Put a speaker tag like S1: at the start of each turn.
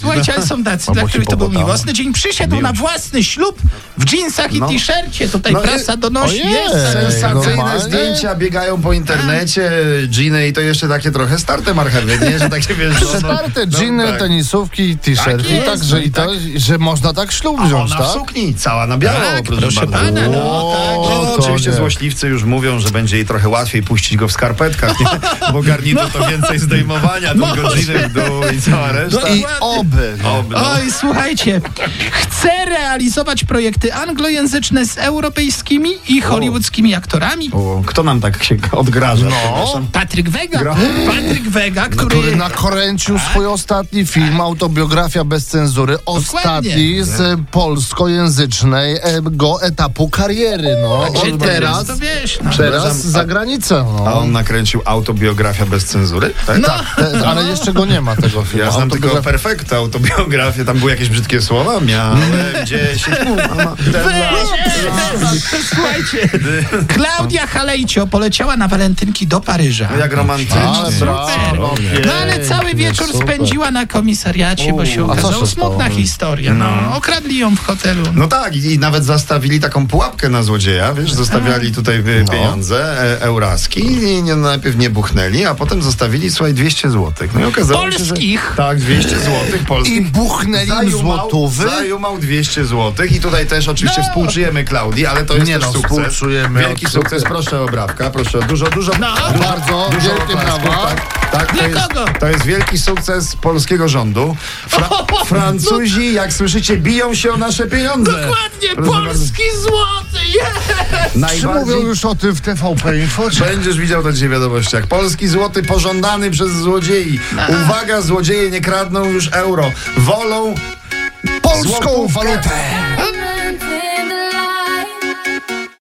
S1: Słuchajcie, ale są tacy, dla
S2: No. Mamusi
S1: których to był
S2: pobodała.
S1: miłosny dzień. Przyszedł na własny ślub w dżinsach i
S2: No.
S1: t-shircie. Tutaj
S2: No i-
S1: prasa donosi.
S3: Ojej.
S1: Jest,
S2: Sensacyjne
S3: normalnie?
S2: zdjęcia biegają po internecie, dżiny i to jeszcze takie trochę starte marchewy, nie? Że takie wiesz... no, no, no,
S3: Przetarte dżiny,
S2: tak.
S3: tenisówki, t-shirty,
S2: jest,
S3: także
S2: no i
S3: i to, że można tak ślub
S2: A
S3: wziąć,
S2: Ona w
S3: tak?
S2: sukni, cała na biało,
S1: Tak, proszę pana, no,
S2: O,
S3: tak,
S2: no,
S3: to
S2: oczywiście
S3: nie.
S2: złośliwcy już mówią, że będzie jej trochę łatwiej puścić go w skarpetkach, nie? bo garnitur to więcej zdejmowania,
S1: Może.
S2: tylko godziny w dół i cała reszta.
S3: No, I oby.
S2: Ob, no.
S1: Oj, słuchajcie, chcę realizować projekty anglojęzyczne z europejskimi i hollywoodzkimi aktorami.
S2: O, Kto nam tak się odgraża?
S3: No.
S2: przepraszam?
S1: Patryk Wega,
S2: Gra-
S1: Patryk Wega,
S3: Który
S1: który...
S3: nakręcił
S2: Tak.
S3: swój ostatni film, autobiografia bez cenzury, ostatni z e, polskojęzycznej e, go etapu kariery, no.
S1: Czy
S3: On teraz,
S1: to wiesz, no.
S3: teraz
S2: Przepraszam, a-
S3: za granicę,
S2: A
S3: no.
S2: on nakręcił autobiografię bez cenzury? Tak. tak.
S3: Te, E, ale jeszcze go nie ma tego filmu.
S2: Ja znam tylko
S3: Autobiografia-
S2: perfekt autobiografię. Tam były jakieś brzydkie słowa? Miałem gdzieś... Mama, ten las.
S1: Słuchajcie, Klaudia Halejcio poleciała na walentynki do Paryża.
S2: no, Jak
S3: Ale
S2: romantycznie.
S3: brawo.
S1: No ale cały wieczór
S3: super.
S1: spędziła na komisariacie, bo się
S3: a co
S1: okazała
S3: się stało?
S1: smutna historia. No, okradli ją w hotelu.
S2: No tak, i i nawet zastawili taką pułapkę na złodzieja, wiesz, zostawiali tutaj e, pieniądze, e, euraski i nie, najpierw nie buchnęli, a potem zostawili, słuchaj, 200 zł. No i okazało się,
S1: Polskich.
S2: że... Tak, 200 zł
S3: I
S2: polskich.
S3: buchnęli im złotówy.
S2: Zajumał 200 zł i tutaj też oczywiście
S1: No.
S2: współczujemy Klaudii, ale to jest
S3: Nie
S2: też
S3: no,
S2: sukces.
S3: współczujemy,
S2: Wielki
S3: absolutnie.
S2: sukces, proszę o brawka, proszę o dużo, dużo,
S1: No.
S2: dużo
S3: Bardzo, wielkie
S2: oklasków,
S3: brawa.
S2: Tak, tak,
S1: Dla
S2: to, jest,
S1: kogo?
S2: to jest wielki sukces polskiego rządu. Fra Francuzi, jak słyszycie, biją się o nasze pieniądze.
S1: Dokładnie,
S2: Proszę
S1: polski złoty! Yes!
S3: Czy
S2: Najbardziej
S3: mówią już o tym w TVP Info? Czy...
S2: Będziesz widział to dzisiaj w wiadomościach. Polski złoty pożądany przez złodziei. Uwaga, złodzieje nie kradną już euro. Wolą
S3: Polską
S2: złotówkę.
S3: walutę!